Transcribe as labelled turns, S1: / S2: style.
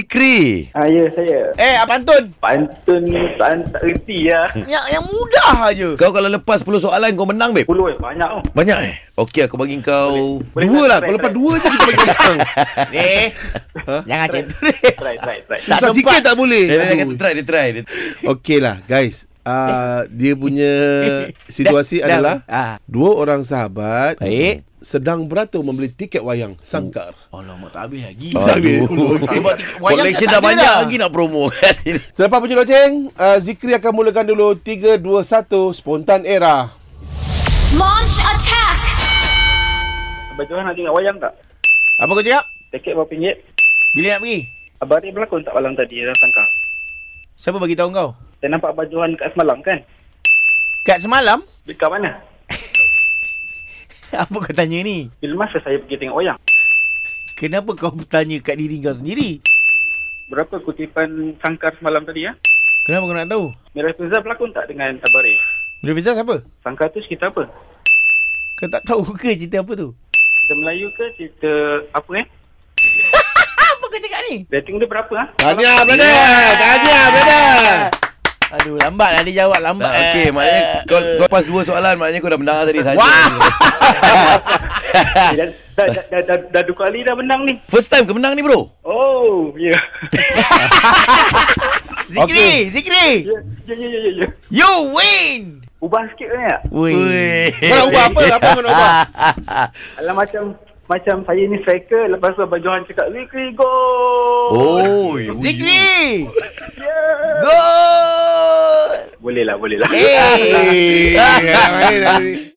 S1: Zikri.
S2: Ha, ya saya.
S3: Eh, Abang Antun.
S2: Pantun ni tak, tak reti lah.
S3: Yang, yang mudah aje.
S1: Kau kalau lepas 10 soalan kau menang, babe.
S2: Puluh eh, banyak tu.
S1: Banyak eh? Okey, aku bagi kau
S2: Boleh. Boleh,
S1: dua
S2: try,
S1: lah.
S2: try,
S1: Kau lepas
S2: try.
S1: dua je kita bagi menang.
S3: Ni. Eh. Jangan macam tu.
S2: Try, try, try.
S3: Tak
S4: Susah sikit
S3: sempat.
S4: tak boleh.
S1: Dia, dia kata
S4: Aduh.
S1: try, dia try. Dia...
S4: Okey lah guys.
S1: Ah,
S4: Uh, dia punya
S3: Dah-
S4: situasi
S3: dah.
S4: adalah
S3: Ah.
S4: dua orang sahabat
S3: Baik.
S4: sedang beratur membeli tiket wayang sangkar.
S1: Oh,
S3: Alamak, tak habis lagi.
S1: Aduh.
S3: Sebab tiket wayang
S1: Collection
S3: tak
S1: dah
S3: ada
S1: banyak
S3: dah.
S1: lagi nak promo kan.
S4: Selepas penjeloceng, uh, Zikri akan mulakan dulu 3 2 1 spontan era.
S5: Launch attack!
S2: Abang Johan nak tengok wayang tak?
S3: Apa kau cakap?
S2: Tiket berapa ringgit?
S3: Bila nak pergi?
S2: Abang Arif berlakon tak malam tadi? Dah sangka.
S3: Siapa bagi tahu kau?
S2: Saya nampak Abang Johan dekat semalam kan?
S3: Kat semalam,
S2: Dekat mana?
S3: apa kau tanya ni?
S2: Bila masa saya pergi tengok wayang?
S3: Kenapa kau bertanya kat diri kau sendiri?
S2: Berapa kutipan sangkar semalam tadi ya?
S3: Kenapa kau nak tahu?
S2: Mira Fiza berlakon tak dengan Abang Arif?
S3: Bila Fiza siapa?
S2: Sangkar tu cerita apa?
S3: Kau tak tahu ke cerita apa tu?
S2: Cerita Melayu ke cerita apa eh?
S3: Apa kau cakap ni? Ah.
S2: Rating dia berapa ah?
S4: Tahniah brother. Tahniah brother.
S3: Aduh, lambat lah dia jawab lambat. eh,
S1: Ah,
S4: eh,
S1: Okey, maknanya kau, kau pas dua soalan maknanya kau dah menang tadi saja.
S3: Wah!
S2: Eh, Dah, dah, dah, dah, dah, dah dua kali dah menang ni.
S1: First time kau menang ni bro.
S2: Oh, ya. Yeah.
S3: Zikri, Zikri.
S2: Ya, ya, ya, ya, ya.
S3: You win.
S2: Ubah sikit kan ya?
S3: Wih.
S4: Kau nak ubah apa? Apa kau nak ubah?
S2: Alah macam macam saya ni striker lepas tu Abang Johan cakap Zikri go.
S1: Oh,
S3: Zikri.
S2: Yeah.
S3: Gol.
S2: Boleh lah, boleh lah.
S3: Hey.
S1: Ah,
S4: Eh, main dah ni.